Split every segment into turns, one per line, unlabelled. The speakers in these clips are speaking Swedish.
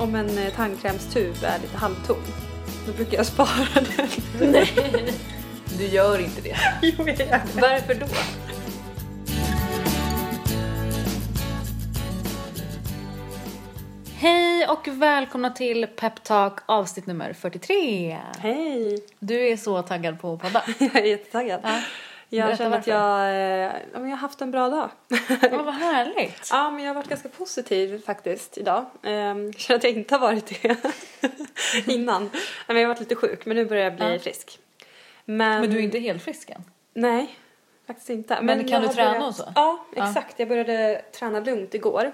om en eh, tandkrämstub är lite halvtom. Då brukar jag spara den.
Du gör inte det.
jo, jag gör det.
Varför då? Hej och välkomna till Peptalk avsnitt nummer 43.
Hej!
Du är så taggad på att podda.
Jag är jättetaggad. jag
berätta
känner att
varför.
jag, eh, ja, men jag har haft en bra dag.
Ja, vad härligt.
ja, men jag har varit ganska positiv faktiskt idag. Ehm, Jag känner att jag inte har varit det innan. Nej, men jag har varit lite sjuk, men nu börjar jag bli
Ja.
frisk. Men,
Men du är inte helt frisk än.
Nej, faktiskt inte.
Men kan
jag
du
har
träna
börjat...
och så?
Ja,
Ja. Mm.
exakt. Jag började träna lugnt igår.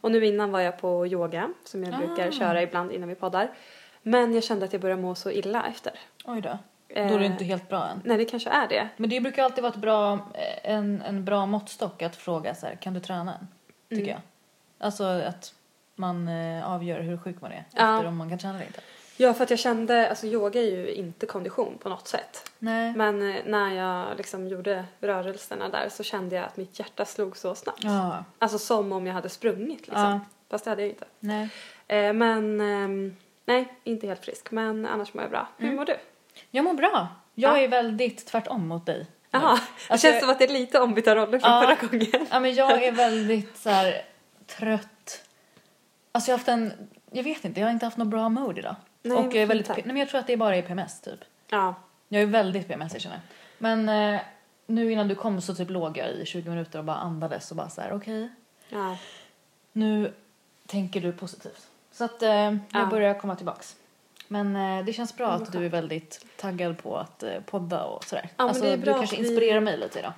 Och nu innan var jag på yoga som jag
Ah.
brukar köra ibland innan vi poddar. Men jag kände att jag började må så illa efter.
Oj då. Då är du
Eh,
inte helt bra än.
Nej, det kanske är det.
Men det brukar alltid vara ett bra, eh, en, en bra måttstock att fråga så här, kan du träna än? Tycker
Mm.
jag. Alltså att man eh, avgör hur sjuk man är
Ja.
efter om man kan träna eller inte.
Ja, för att jag kände, alltså yoga är ju inte kondition på något sätt.
Nej.
Men eh, när jag liksom gjorde rörelserna där så kände jag att mitt hjärta slog så snabbt.
Ja.
Alltså som om jag hade sprungit liksom.
Ja.
Fast det hade jag inte.
Nej.
Eh, men ehm, nej, inte helt frisk. Men annars mår jag bra.
Mm.
Hur mår du?
Jag mår bra. Jag
Ja.
är väldigt tvärtom mot dig.
Jaha, det
Alltså,
känns som att det är lite ombytta roller från
Ja.
förra gången.
Ja, men jag är väldigt så här, trött. Alltså jag har haft en, jag vet inte, jag har inte haft något bra mood idag.
Nej,
och jag, är
varför
väldigt,
inte?
nej, men jag tror att det bara är PMS typ.
Ja,
Jag är väldigt PMS jag känner. Men eh, nu innan du kom så typ låg jag i 20 minuter och bara andades och bara så här okej.
ja.
nu tänker du positivt. Så att eh, jag
Ja.
börjar komma tillbaks. Men eh, det känns bra
vad
att du är väldigt taggad på att eh, podda och sådär.
men
alltså,
det är bra
du kanske
att vi-
inspirerar mig lite idag.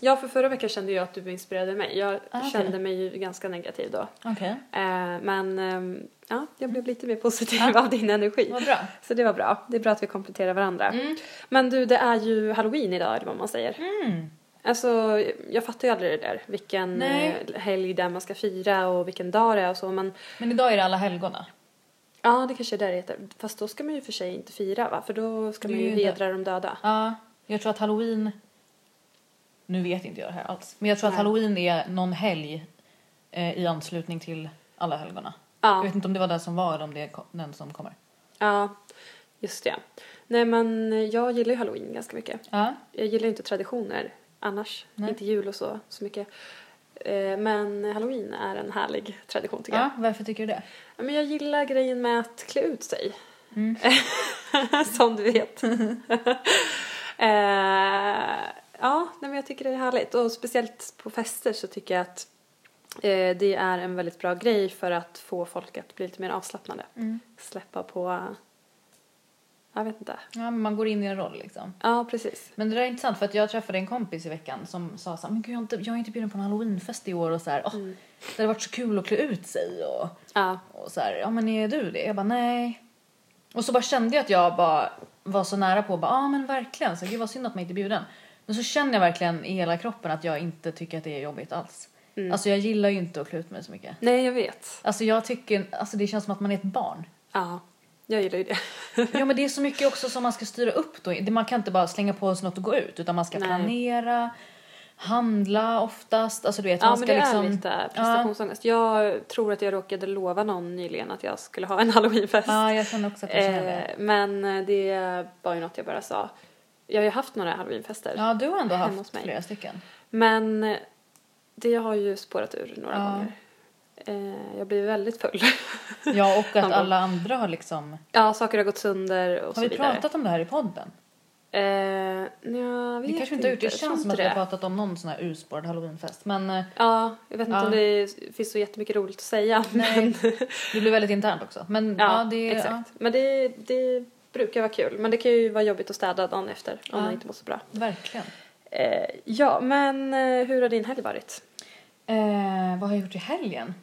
ja, för förra veckan kände jag att du inspirerade mig. Jag
Ah, okej.
kände mig ju ganska negativ då.
Okej,
Eh, men ehm, ja, jag
Mm.
blev lite mer positiv
Ah.
av din energi.
vad bra.
Så det var bra. Det är bra att vi kompletterar varandra.
Mm.
Men du, det är ju halloween idag eller vad man säger.
Mm.
Alltså, jag fattar ju aldrig det där. Vilken
Nej.
eh, helg där man ska fira och vilken dag det är och så. Men
Men idag är det alla helgona.
ja, det kanske är där det heter. Fast då ska man ju för sig inte fira va? För då ska
Det
man
är
ju
ju det.
hedra de döda.
Ja, jag tror att halloween... Nu vet inte jag det här alls. Men jag tror att
Nej.
halloween är någon helg eh, i anslutning till alla helgona. Jag
Ja,
vet inte om det var den som var eller om det är ko- den som kommer.
ja just det. Nej men jag gillar ju halloween ganska mycket.
Ja,
Jag gillar inte traditioner annars.
Nej.
Inte jul och så, så mycket. Eh, Men halloween är en härlig tradition tycker
ja varför tycker du det?
jag. Men jag gillar grejen med att klä ut sig.
Mm.
Som du vet. Eh, ja, nej, men jag tycker det är härligt. Och speciellt på fester så tycker jag att eh, det är en väldigt bra grej för att få folk att bli lite mer avslappnade.
Mm.
Släppa på... Jag vet inte.
Ja, men man går in i en roll liksom.
Ja, precis.
Men det där är intressant för att jag träffade en kompis i veckan som sa så här, men gud jag är inte, jag är inte bjuden på en halloweenfest i år och så här, åh,
Mm.
det hade varit så kul att klä ut sig och,
Ja.
och så här, ja men är du det? Jag bara nej. Och så bara kände jag att jag bara var så nära på att bara, ja ah, men verkligen, så här, gud vad synd att man inte är bjuden. Men så känner jag verkligen i hela kroppen att jag inte tycker att det är jobbigt alls.
Mm.
Alltså jag gillar ju inte att klä ut mig så mycket.
Nej, jag vet.
Alltså jag tycker, alltså det känns som att man är ett barn.
Ja, jag gillar ju det.
Ja men det är så mycket också som man ska styra upp då. Det- Man kan inte bara slänga på sig något och gå ut utan man ska
Nej.
planera, handla oftast. Alltså du vet,
Ja,
man
men
ska
det
liksom...
är lite prestationsångest. Jag tror att jag råkade lova någon nyligen att jag skulle ha en halloweenfest.
Ja, jag känner också att jag känner det.
eh, men det var ju något jag bara sa. Jag har ju haft några halloweenfester.
Ja, du har ändå
hemma
haft
hos mig.
flera stycken.
Men eh, det har ju spårat ur några
Ja.
gånger. Eh, jag blir väldigt full.
Ja, och
Någon
att
gång.
alla andra har liksom...
ja, saker har gått sönder och
Har
så
vi
vidare.
pratat om det här i podden?
Eh, nej, jag vet
Vi kanske inte har gjort det. Det
jag tror
känns som
inte
att vi har
det.
pratat om någon sån här urspårad halloweenfest. Men eh,
Ja, jag vet inte
Ja.
om det finns så jättemycket roligt att säga.
Nej.
Men...
det blir väldigt internt också. Men ja, det...
exakt. Men det, det brukar vara kul. Men det kan ju vara jobbigt att städa dagen efter om
Ja.
man inte mår så bra.
Ja, verkligen.
Eh, ja, men eh, hur har din helg varit?
Eh, vad har jag gjort i helgen?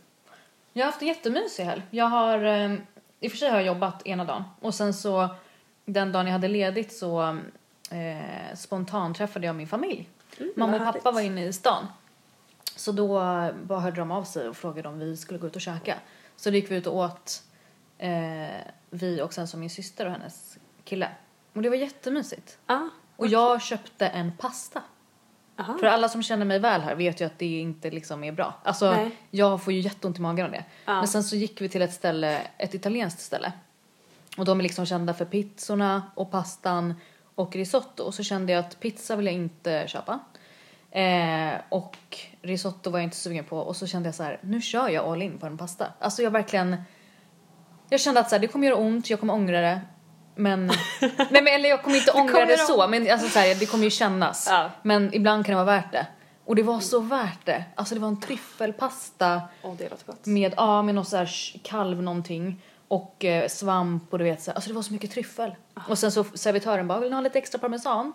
Jag har haft en jättemysig helg. Jag har, eh, I och för sig har jag jobbat ena dagen och sen så den dagen jag hade ledigt så eh, spontant träffade jag min familj.
Mm,
Mamma
vad
och pappa
härligt.
var inne i stan. Så då eh, bara hörde de av sig och frågade om vi skulle gå ut och käka. Så då gick vi ut och åt, eh, vi och sen så min syster och
Ah.
hennes kille. Och det var jättemysigt.
Ja,
Och jag köpte en pasta.
Aha.
För alla som känner mig väl här vet ju att det inte liksom är bra. Alltså,
Nej.
jag får ju jätteont i magen av det.
Ja.
Men sen så gick vi till ett ställe, ett italienskt ställe. Och de är liksom kända för pizzorna och pastan och risotto. Och så kände jag att pizza vill jag inte köpa. Eh, och risotto var jag inte sugen på. Och så kände jag så här, nu kör jag all in på en pasta. Alltså jag verkligen... Jag kände att så här, det kommer göra ont, jag kommer ångra det. Men, nej men eller jag kommer inte ångra
kommer
det
göra
så, men alltså så här, det kommer ju kännas.
Ja.
Men ibland kan det vara värt det. Och det var så värt det. Alltså det var en tryffelpasta
Åh, det låter gott.
med, ja med någon så här sh- kalv någonting och eh, svamp och du vet så här. Alltså det var så mycket tryffel. Och sen så servitören bara, vill ni ha lite extra parmesan?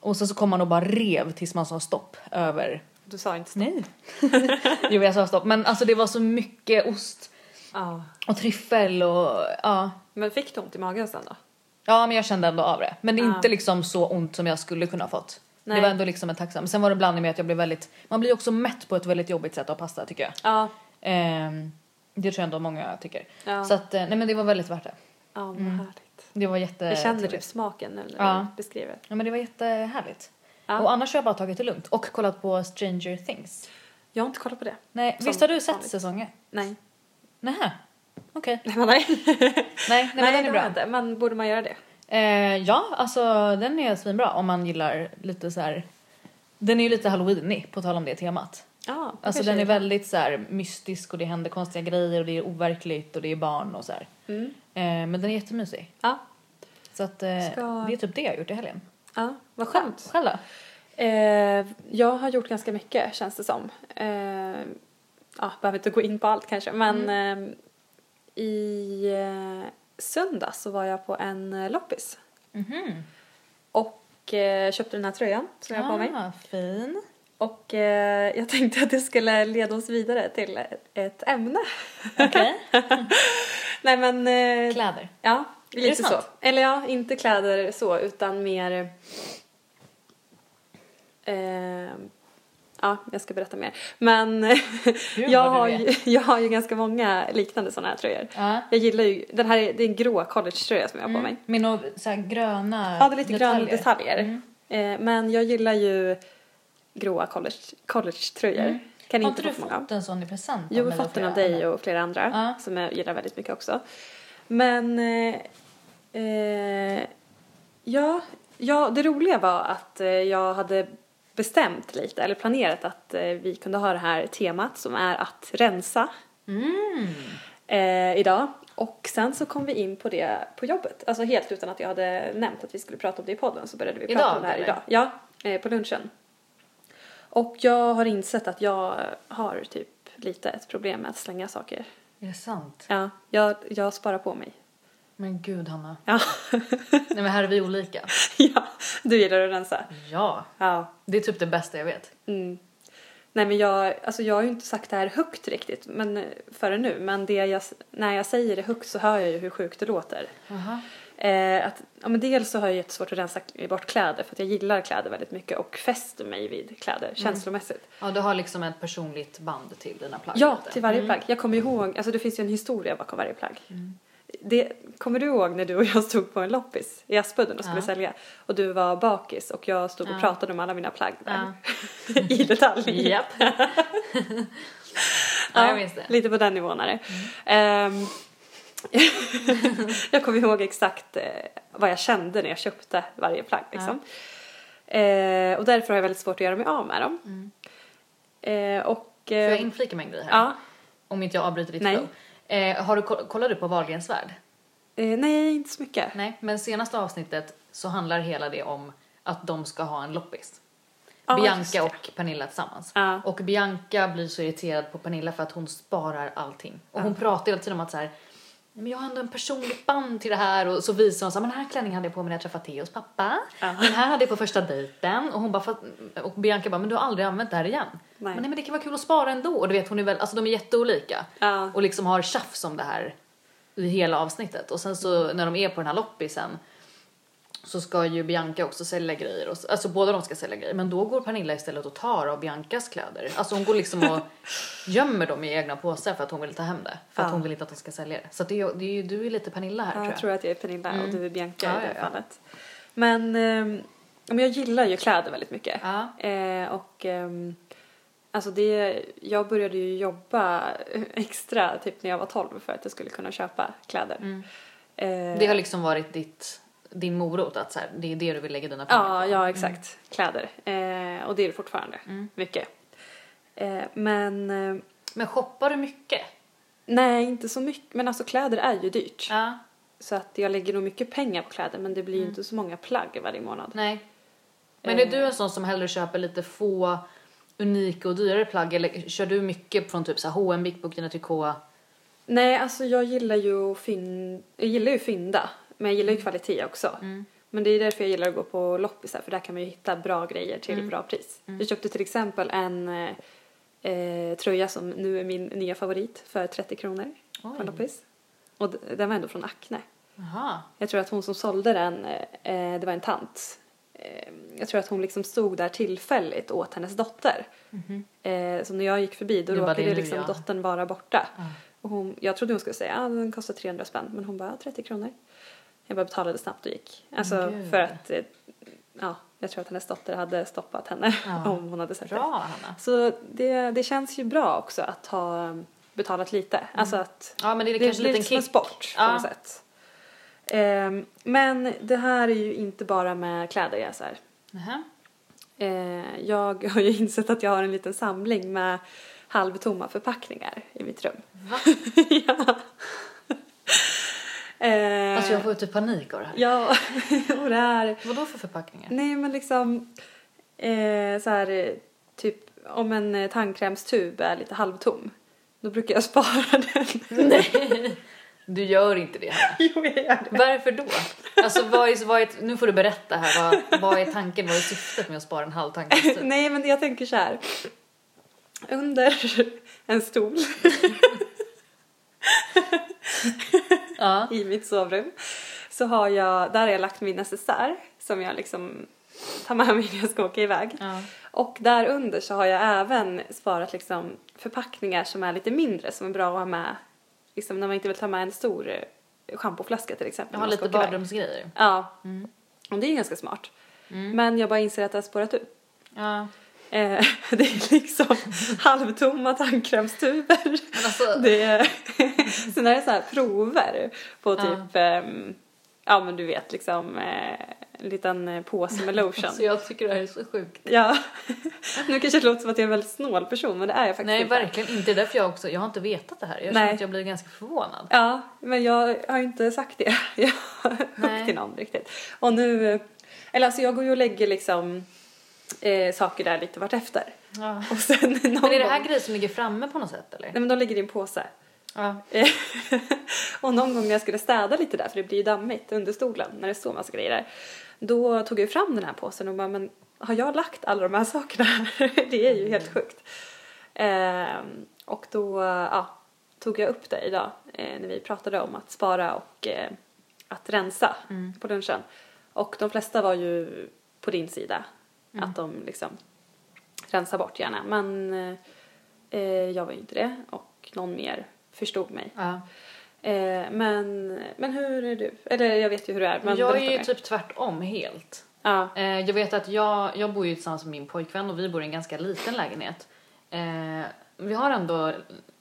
Och sen så kom han och bara rev tills man sa stopp över.
Du sa inte så.
Nej. jo jag sa stopp men alltså det var så mycket ost
Ja.
och tryffel och ja.
Men fick du ont i magen sen då?
Ja men jag kände ändå av det. Men det är
Ja.
inte liksom så ont som jag skulle kunna ha fått. Det
Nej.
var ändå liksom en tacksam. Sen var det blandning med att jag blev väldigt, man blir också mätt på ett väldigt jobbigt sätt av pasta tycker jag.
Ja.
Ehm, det tror jag ändå många tycker.
Ja,
Så att, eh, nej men det var väldigt värt det.
ja vad härligt.
Det var jätte...
Jag känner typ
trevligt.
smaken nu när
Ja.
du beskriver.
Ja men det var jättehärligt.
Ja.
Och annars har jag bara tagit det lugnt och kollat på Stranger Things.
Jag har inte kollat på det.
Nej,
Som
visst har du sett
vanligt.
säsongen?
Nej.
Nähä. Okej.
Nej, men nej.
Nej, nej,
det
men den
har jag
är bra.
inte. Men borde man göra det?
Eh, ja, alltså den är svinbra om man gillar lite så här. Den är ju lite halloweenig på tal om det temat.
Ja, det
Alltså
kanske
den är
jag gör.
väldigt så här mystisk och det händer konstiga grejer och det är overkligt och det är barn och så här.
Mm.
Eh, men den är jättemysig.
Ja.
Så att eh,
Ska-
det är typ det jag har gjort i helgen.
ja, vad skönt.
Själv då?
Eh, jag har gjort ganska mycket känns det som. Eh, ja, behöver inte gå in på allt kanske men
Mm.
eh, i eh, söndags så var jag på en eh, loppis
Mhm.
och eh, köpte den här tröjan som jag har på mig.
Ah, fin.
Och eh, jag tänkte att det skulle leda oss vidare till ett ämne.
Okej.
Nej men eh,
Kläder.
Ja,
det
lite så.
sant?
Eller ja, inte kläder så utan mer... Eh, ja, jag ska berätta mer. Men
Gud,
jag,
vad du
har
vet.
ju, jag har ju ganska många liknande sådana här tröjor.
Ja. Mm.
Jag gillar ju, den här är, det är en grå collegetröja som jag har på mig.
Med några så här gröna Mm.
Ja, det är lite gröna detaljer. Eh, men jag gillar ju gråa college, collegetröjor. Kan
Mm. Har
inte
inte
få
du
för många av.
fått en sån i present? av
Jo,
mig och
Fatten av
flera
dig
andra?
och flera andra
Ja.
som jag gillar väldigt mycket också. Men eh, eh, ja, ja, det roliga var att eh, jag hade bestämt lite eller planerat att eh, vi kunde ha det här temat som är att rensa
Mm.
eh, idag. Och sen så kom vi in på det på jobbet. Alltså helt utan att jag hade nämnt att vi skulle prata om det i podden så började vi prata
Idag,
om det här
eller?
idag. Ja, eh, på lunchen. Och jag har insett att jag har typ lite ett problem med att slänga saker.
Är det sant?
Ja, jag, jag sparar på mig.
Men gud Hanna.
Ja.
Nej men här är vi olika.
ja, du gillar att rensa.
Ja.
Ja.
Det är typ det bästa jag vet.
Mm. Nej men jag, alltså jag har ju inte sagt det här högt riktigt men, eh, förrän nu men det jag, när jag säger det högt så hör jag ju hur sjukt det låter.
Aha.
Eh, att, ja, men dels så har jag jättesvårt att rensa bort kläder för att jag gillar kläder väldigt mycket och fäster mig vid kläder känslomässigt.
Mm. Ja, du har liksom ett personligt band till dina plagg.
Ja,
lite.
till varje plagg. Jag kommer ihåg, alltså det finns ju en historia bakom varje plagg.
Mm.
Det, kommer du ihåg när du och jag stod på en loppis i Aspudden och skulle
Ja.
sälja? Och du var bakis och jag stod och
Ja.
pratade om alla mina plagg där. I detalj.
Japp. ja, jag minns det. Mm.
Lite på den nivån är det. Ehm, jag kommer ihåg exakt eh, vad jag kände när jag köpte varje plagg. Liksom. Eh, och därför har jag väldigt svårt att göra mig av med dem. Eh, och...
Mm. Får
eh,
jag inflika med en grej här?
ja,
Om inte jag avbryter ditt
Nej.
flow. Eh, har du, ko- kollar du på Wahlgrens värld?
eh, nej, inte så mycket.
Nej, men senaste avsnittet så handlar hela det om att de ska ha en loppis.
Ja, just det.
Bianca och Pernilla tillsammans.
Ja.
Och Bianca blir så irriterad på Pernilla för att hon sparar allting. Och hon pratar hela tiden om att så här, "Nej, men jag har ändå en personligt band till det här och så visar hon så här, men den här klänningen hade jag på mig när jag träffade Theos pappa.
Ja.
Den här hade jag på första dejten. Och, hon bara, "Fast-" och Bianca bara, men du har aldrig använt det här igen.
Nej.
Men, nej, men det kan vara kul att spara ändå. Och du vet, hon är väl, alltså de är jätteolika.
Ja.
Och liksom har tjafs om det här i hela avsnittet. Och sen så när de är på den här loppisen så ska ju Bianca också sälja grejer. Och, alltså båda de ska sälja grejer. Men då går Pernilla istället och tar av Biancas kläder. Alltså hon går liksom och gömmer dem i egna påsar för att hon vill ta hem det. För att
Ja.
hon vill inte att de ska sälja det. Så att det är, det är ju, du är lite Pernilla här
Ja,
tror
jag
jag. Mm.
tror att jag är Pernilla och du är Bianca
Ja,
i det
ja, ja.
fallet. Men ehm, Ja, men jag gillar ju kläder väldigt mycket.
Ja.
Eh, och ehm, alltså det, jag började ju jobba extra typ när jag var 12 för att jag skulle kunna köpa kläder. Eh,
Mm. Det har liksom varit ditt, din morot att så här, det är det du vill lägga dina pengar
Ja,
på.
ja exakt. Kläder. Eh, och det är det fortfarande.
Mm.
Mycket. Eh, men eh,
Men shoppar du mycket?
nej, inte så mycket. Men alltså kläder är ju dyrt.
Ja. Mm.
Så att jag lägger nog mycket pengar på kläder men det blir ju inte så många plagg varje månad.
Nej. Men är du en sån som hellre köper lite få unika och dyrare plagg eller kör du mycket från typ så här H&M, Big Book, Dina Trikå?
Nej, alltså jag gillar ju att fyn... jag gillar ju att fynda. Men jag
Mm.
gillar ju kvalitet också. Men det är därför jag gillar att gå på loppisar för där kan man ju hitta bra grejer till
Mm.
bra pris. Jag köpte till exempel en eh, eh, tröja som nu är min nya favorit för 30 kronor på
Oj.
en loppis. Och d- den var ändå från Acne.
Jaha.
Jag tror att hon som sålde den, eh, det var en tant. Eh, jag tror att hon liksom stod där tillfälligt åt hennes dotter.
Mhm.
Eh, så när jag gick förbi då
Du bara,
råkade
"Det är nu
liksom
jag."
dottern vara borta.
Ja.
Och hon, jag trodde hon skulle säga att ah, den kostar 300 spänn men hon bara "Ah, 30 kronor. Jag bara betalade snabbt och gick. Alltså
Men gud.
för att eh, ja, jag tror att hennes dotter hade stoppat henne
Ja.
om hon hade sett det.
Bra Hanna.
Så det, det känns ju bra också att ha eh, betalat lite. Alltså att
Ja men Mm. det är
det
kanske
blir
en liten
som en
kick.
sport på
Ja.
något sätt. Ehm, men det här är ju inte bara med kläder jag så här.
Nähä.
Eh, jag har ju insett att jag har en liten samling med halvtomma förpackningar i mitt rum.
Va?
ja. Eh,
Alltså jag får ju typ panik av det här.
Ja, och det här...
Vadå för förpackningar?
Nej men liksom eh, så här eh, typ om en eh, tandkrämstub är lite halvtom då brukar jag spara den.
Du gör inte det Hanna.
jo jag gör det.
Varför då? Alltså vad är, vad är, nu får du berätta här, vad, vad är tanken, vad är syftet med att spara en halv tanke?
Nej, men jag tänker så här. Under en stol
Ja.
i mitt sovrum så har jag, där har jag lagt min necessär som jag liksom tar med mig när jag ska åka iväg.
Ja.
Och där under så har jag även sparat liksom förpackningar som är lite mindre som är bra att ha med liksom när man inte vill ta med en stor eh, schampoflaska till exempel.
Jag
när
har
man ska
lite
åka iväg.
badrumsgrejer. Mm.
Ja. Och det är ganska smart. Men jag bara inser att det har spårat ut.
Ja.
Eh, det är liksom halvtomma tandkrämstuber.
Men alltså,
Det är, sen är det så här prover på
Ja.
typ, ehm, ja men du vet liksom eh, en liten eh, påse med lotion.
alltså jag tycker det här är så sjukt.
Ja, nu kanske det låter som att jag är en väldigt snål person men det är jag faktiskt
Nej
inte.
verkligen inte, därför jag också, jag har inte vetat det här. Jag
Nej.
känner att jag blir ganska förvånad.
Ja, men jag har ju inte sagt det jag har
Nej.
upp till någon riktigt. Och nu, eh, eller alltså jag går ju och lägger liksom eh, saker där lite vartefter.
Ja.
Och sen någon
Men är det här
gång,
grejer som ligger framme på något sätt eller?
nej men de ligger i en påse.
Ja.
Eh, och någon gång när jag skulle städa lite där, för det blir ju dammigt under stolen när det står massa grejer där, då tog jag ju fram den här påsen och bara, men har jag lagt alla de här sakerna här? det är ju helt sjukt. Ehm, och då ja, tog jag upp det idag eh, när vi pratade om att spara och eh, att rensa på lunchen. Och de flesta var ju på din sida, att de liksom rensar bort gärna. Men eh, jag var ju inte det och någon mer förstod mig.
ja.
Eh, men, men hur är du? Eller jag vet ju hur du är. Men
jag
berätta
är ju
mer.
typ tvärtom helt.
Ja.
Eh, jag vet att jag, jag bor ju tillsammans med min pojkvän och vi bor i en ganska liten lägenhet. Eh, vi har ändå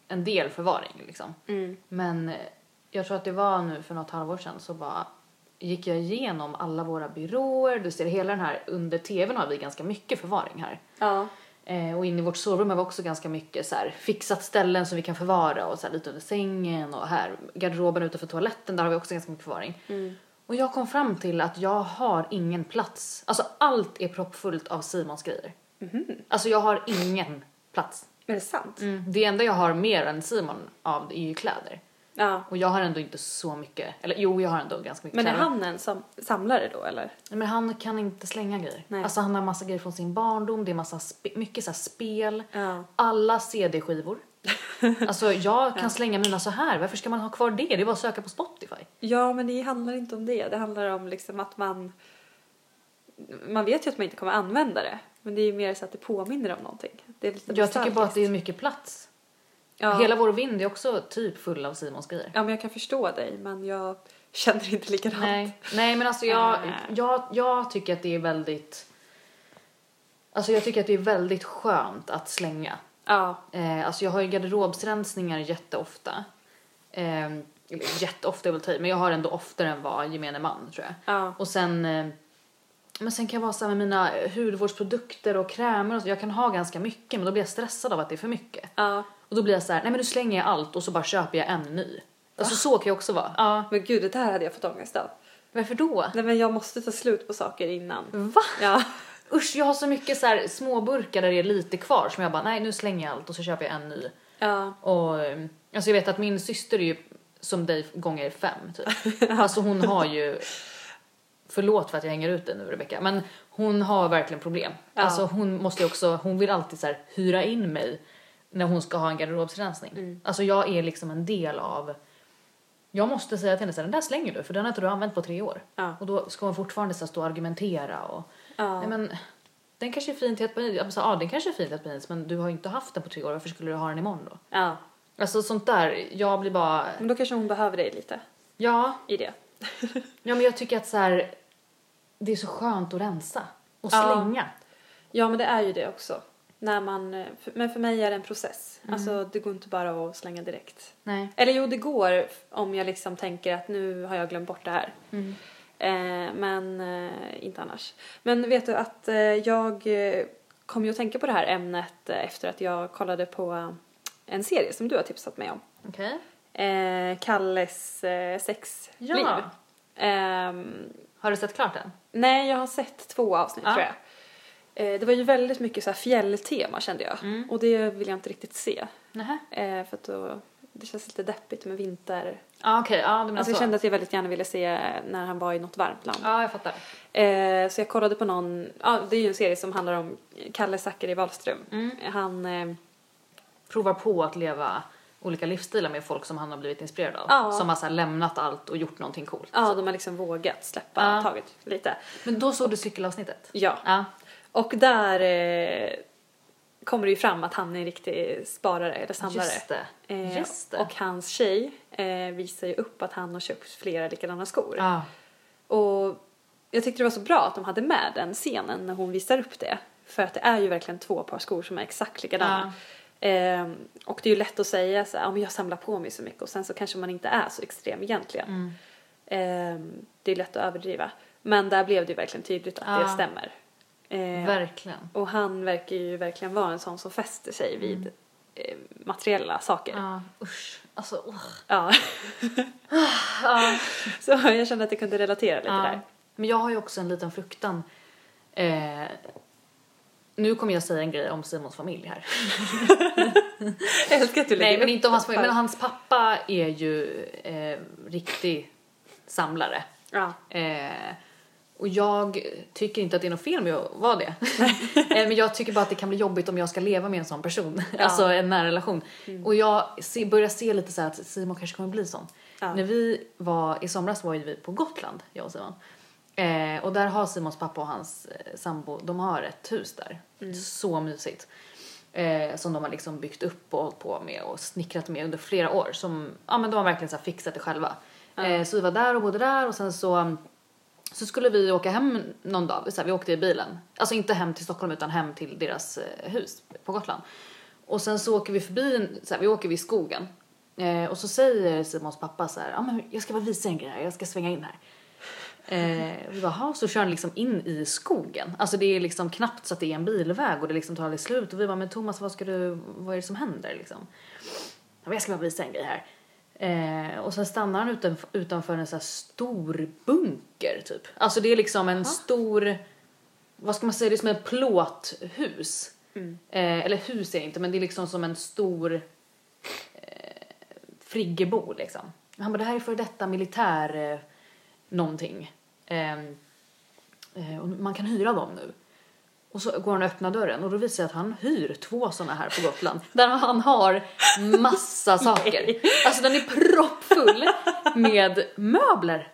en del förvaring liksom.
Mm.
Men eh, jag tror att det var nu för något halvår sedan så bara gick jag igenom alla våra byråer. Du ser hela den här, under tvn har vi ganska mycket förvaring här.
Ja.
Eh, och inne i vårt sovrum har vi också ganska mycket så här, fixat ställen som vi kan förvara och så här, lite under sängen och här garderoben utanför toaletten där har vi också ganska mycket förvaring. Och jag kom fram till att jag har ingen plats. Alltså allt är proppfullt av Simons grejer. Alltså jag har ingen plats.
Mhm. Är det sant?
Det enda jag har mer än Simon av är ju kläder.
Ja.
Och jag har ändå inte så mycket, eller jo jag har ändå ganska mycket
Men är
kläder.
han en sam- samlare då eller?
Men han kan inte slänga grejer.
Nej.
Alltså han har massa grejer från sin barndom, det är massa spe- mycket så här spel.
Ja.
Alla CD-skivor. alltså jag kan slänga mina så här. varför ska man ha kvar det? Det är bara att söka på Spotify.
Ja men det handlar inte om det. Det handlar om liksom att man... Man vet ju att man inte kommer använda det. Men det är ju mer så att det påminner om någonting. Det är lite
Jag tycker bara att det är
nostalgiskt.
mycket plats.
Ja.
Hela vår vind är också typ full av Simons grejer.
ja men jag kan förstå dig men jag känner inte likadant.
Nej, nej men alltså jag,
Eh.
jag, jag tycker att det är väldigt... Alltså jag tycker att det är väldigt skönt att slänga.
Ja,
Eh, alltså jag har ju garderobsrensningar jätteofta. Eh, eller jätteofta är väl att ta i, men jag har ändå oftare än vad gemene man tror jag.
ja,
Och sen, eh, men sen kan jag vara så här med mina hudvårdsprodukter och krämer och så. Jag kan ha ganska mycket men då blir jag stressad av att det är för mycket.
ja.
Och då blir jag så här, nej men nu slänger jag allt och så bara köper jag en ny. Alltså så kan jag också vara. Ja.
Men gud, det där hade jag fått ångest av.
Varför då?
Nej men jag måste ta slut på saker innan.
Va?
Ja,
Usch, jag har så mycket så här små burkar där det är lite kvar som jag bara, nej nu slänger jag allt och så köper jag en ny.
ja,
Och eh, alltså jag vet att min syster är ju som dig gånger fem typ. Alltså hon har ju, förlåt för att jag hänger ut dig nu Rebecca, men hon har verkligen problem.
Ja.
Alltså hon måste ju också, hon vill alltid så här hyra in mig när hon ska ha en garderobsrensning.
Mm.
Alltså jag är liksom en del av, jag måste säga till henne så här, den där slänger du för den har inte du använt på tre år.
Ja.
Och då ska hon fortfarande så här, stå och argumentera och
ja.
Nej, men, den kanske är fin till ett par jeans. Jag bara så här, Ja, den kanske är fin till ett par jeans, men du har ju inte haft den på tre år. Varför skulle du ha den imorgon då?
ja.
Alltså sånt där. Jag blir bara...
Men då kanske hon behöver dig lite
Ja,
i det.
ja men jag tycker att så här, det är så skönt att rensa och
Ja.
slänga.
Ja men det är ju det också. När man, eh, för- men för mig är det en process.
Mm.
Alltså det går inte bara att slänga direkt.
Nej.
Eller jo det går f- om jag liksom tänker att nu har jag glömt bort det här.
Mm.
Eh, men eh, inte annars. Men vet du att eh, jag eh, kom ju att tänka på det här ämnet eh, efter att jag kollade på eh, en serie som du har tipsat mig om.
Okej.
Eh, Kalles eh, sexliv.
Ja.
Ehm,
Har du sett klart den?
Nej, jag har sett två avsnitt
Ja.
tror jag. Eh, Det var ju väldigt mycket så här fjälltema kände jag.
Mm.
Och det vill jag inte riktigt se.
Nähä.
Eh, För att då, det känns lite deppigt med vinter.
Ja, okej. Ja, du menar
Alltså
så.
jag kände att jag väldigt gärna ville se när han var i något varmt land.
Ja, jag fattar.
Eh, Så jag kollade på någon, ja det är ju en serie som handlar om Kalle Zackari Wahlström.
Mm.
Han, eh,
Provar på att leva olika livsstilar med folk som han har blivit inspirerad av.
Ja.
Som har så här, lämnat allt och gjort någonting coolt.
ja de har liksom vågat släppa
Ja.
taget lite.
Men då såg du cykelavsnittet?
Ja.
Ja.
Och där eh, kommer det ju fram att han är en riktig sparare eller samlare.
Just det.
Eh,
Just det.
Och hans tjej eh, visar ju upp att han har köpt flera likadana skor.
Ja.
Och jag tyckte det var så bra att de hade med den scenen när hon visar upp det. För att det är ju verkligen två par skor som är exakt likadana. Eh, och det är ju lätt att säga så här, "Ja, men jag samlar på mig så mycket och sen så kanske man inte är så extrem egentligen.
Mm.
Eh, det är lätt att överdriva. Men där blev det ju verkligen tydligt att det
Ja.
stämmer. Eh,
Verkligen.
och han verkar ju verkligen vara en sån som fäster sig
Mm.
vid eh, materiella saker.
Ja, usch. Alltså, åh.
Ja.
Ah,
Så jag kände att jag kunde relatera lite
Ja.
där.
Men jag har ju också en liten fruktan. Eh, nu kommer jag säga en grej om Simons familj här.
Jag älskar att du lägger
Nej, men
upp
inte om hans
det.
familj. Men hans pappa är ju eh, riktig samlare.
Ja.
Eh, och jag tycker inte att det är något fel med att vara det. eh, men jag tycker bara att det kan bli jobbigt om jag ska leva med en sån person.
Ja. Mm.
Alltså en nära relation. Och jag se, börjar se lite så här att Simon kanske kommer bli sån.
Ja.
När vi var, i somras var ju vi på Gotland, jag och Simon. Eh, och där har Simons pappa och hans eh, sambo, de har ett hus där.
Mm.
Så mysigt. Eh, som de har liksom byggt upp och hållit på med och snickrat med under flera år. Som, ja men de har verkligen så här fixat det själva. Eh, så vi var där och bodde där och sen så så skulle vi åka hem någon dag, så här, vi åkte i bilen. Alltså inte hem till Stockholm utan hem till deras eh, hus på Gotland. Och sen så åker vi förbi, en- så här, vi åker vid skogen. Eh, och så säger Simons pappa så här, ja men jag ska bara visa en grej här, jag ska svänga in här. Eh, och vi bara, "Ha." så kör han liksom in i skogen. Alltså det är liksom knappt så att det är en bilväg och det liksom tar aldrig slut. Och vi bara, men Thomas vad ska du, vad är det som händer liksom? "Ja, men Jag ska bara visa en grej här. Eh, och sen stannar han utanf- utanför en så här stor bunker typ. Alltså det är liksom en stor, vad ska man säga, det är som en plåthus. Eh, eller hus är det inte men det är liksom som en stor eh, friggebo liksom. Han bara, det här är för detta militär eh, någonting. Ehm, eh, och man kan hyra dem nu. Och så går han och öppnar dörren och då visar det sig att han hyr två såna här på Gotland. Där han har massa saker. Alltså den är proppfull med möbler.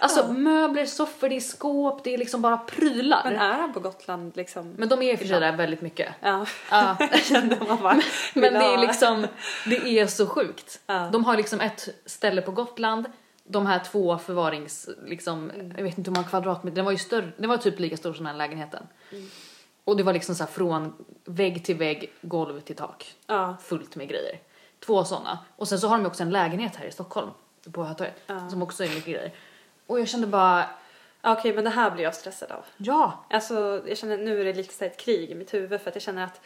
Alltså möbler, soffor, det är skåp, det är liksom bara prylar.
Men
Men,
är han på Gotland liksom?
de är i och för sig där väldigt mycket.
Ja.
Ja.
Jag kände man bara, vill
Men det
ha-
är liksom, det är så sjukt.
Ja.
De har liksom ett ställe på Gotland de här två förvarings... Liksom, Jag vet inte hur många kvadratmeter, den var ju större, den var typ lika stor som den här lägenheten. Och det var liksom så här från vägg till vägg, golv till tak.
Ja.
Fullt med grejer. Två sådana. Och sen så har de ju också en lägenhet här i Stockholm, på Hötorget,
Ja.
som också är mycket grejer. Och jag kände bara,
Ja, Okej, men det här blir jag stressad av.
ja!
Alltså, jag känner nu är det lite så här ett krig i mitt huvud för att jag känner att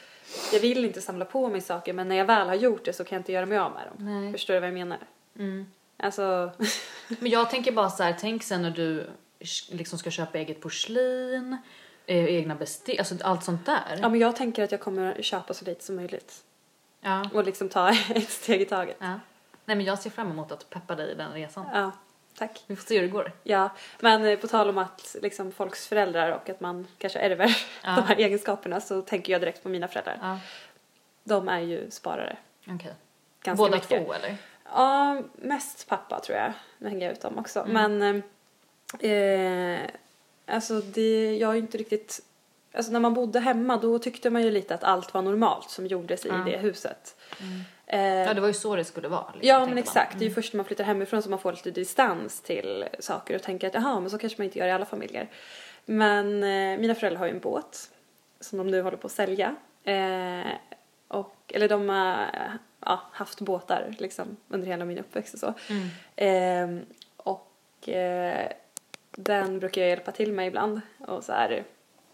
jag vill inte samla på mig saker men när jag väl har gjort det så kan jag inte göra mig av med dem.
Nej.
Förstår du vad jag menar?
Mm.
Alltså,
Men jag tänker bara så här, tänk sen när du liksom ska köpa eget porslin, eh, egna bestick, alltså allt sånt där.
ja men jag tänker att jag kommer köpa så lite som möjligt
Ja.
och liksom ta ett steg i taget.
ja. Nej men jag ser fram emot att peppa dig i den resan.
Ja, tack.
Vi får se hur det går.
Ja, men eh, på tal om att liksom folks föräldrar och att man kanske ärver
Ja.
de här egenskaperna så tänker jag direkt på mina föräldrar.
Ja.
De är ju sparare.
Okej.
Ganska
Båda
mycket.
två eller?
Ja, mest pappa tror jag. Nu hänger jag ut dem också.
Mm.
Men eh, eh, alltså det, jag är ju inte riktigt... Alltså när man bodde hemma då tyckte man ju lite att allt var normalt som gjordes i
Ja.
det huset.
Mm.
Eh,
Ja
ja,
det var ju så det skulle vara. liksom,
men
tänkte
exakt.
man.
Det är ju först när man flyttar hemifrån som man får lite distans till saker och tänker att jaha, men så kanske man inte gör i alla familjer. Men eh, mina föräldrar har ju en båt som de nu håller på att sälja. Eh, och, eller de har ja, haft båtar liksom, under hela min uppväxt och så.
Mm.
Ehm, och eh, den brukar jag hjälpa till med ibland. Och så här,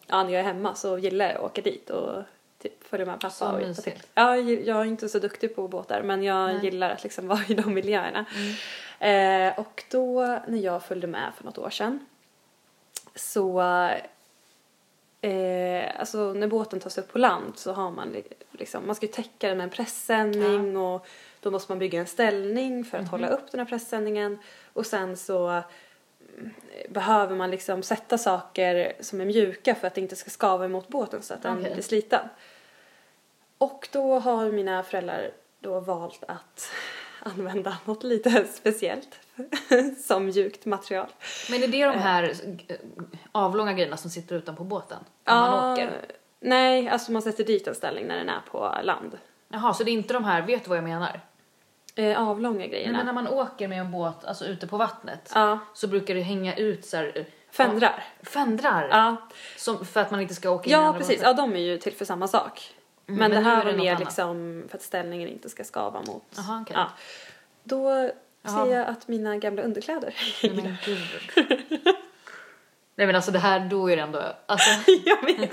ja, när jag är hemma så gillar jag att åka dit och typ följa med pappa
Så
och hjälpa
mysigt.
till. Ja, jag gill- jag är inte så duktig på båtar men jag
Nej.
gillar att liksom vara i de miljöerna.
Mm.
Eh, och då när jag följde med för något år sedan så Eh, alltså när båten tas upp på land så har man li- liksom, man ska ju täcka den med en pressändning och då måste man bygga en ställning för att hålla upp den här pressändningen och sen så mm, behöver man liksom sätta saker som är mjuka för att det inte ska skava emot båten så att den
Okej.
blir sliten. Och då har mina föräldrar då valt att använda något lite speciellt som mjukt material.
Men är det de här eh, avlånga grejerna som sitter utanpå båten? När man åker?
Nej, alltså man sätter dit en ställning när den är på land.
Jaha, så det är inte de här, vet du vad jag menar?
Eh, avlånga
Nej,
grejerna.
men när man åker med en båt, alltså ute på vattnet,
Ja,
så brukar det hänga ut så här, eh,
fändrar.
fändrar.
Ja,
Som, för att man inte ska åka in i
ja
andra
precis.
båtar.
Ja, de är ju till för samma sak.
Mm,
men det
men nu är
här
det
var
något
mer
annat.
liksom för att ställningen inte ska skava mot.
Jaha, okej.
Ja. Då
Jaha.
ser jag att mina gamla underkläder
Nej,
hänger.
men gud. Nej men alltså det här, då är det ändå, alltså
Jag vet.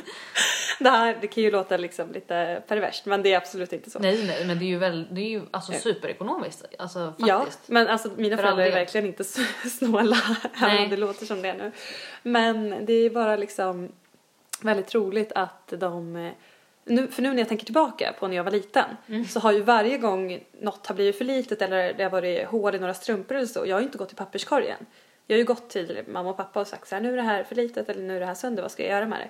Det här det kan ju låta liksom lite perverst men det är absolut inte så.
nej nej men det är ju väl, det är ju alltså superekonomiskt, alltså
Ja,
faktiskt.
men alltså mina
För
föräldrar
all
är
del.
verkligen inte så snåla, även
Nej.
om det låter som det nu. Men det är bara liksom väldigt roligt att de eh, nu, för nu när jag tänker tillbaka på när jag var liten
Mm.
så har ju varje gång något har blivit för litet eller det har varit hål i några strumpor eller så, jag har ju inte gått till papperskorgen. Jag har ju gått till mamma och pappa och sagt så här, nu är det här för litet eller nu är det här sönder, vad ska jag göra med det?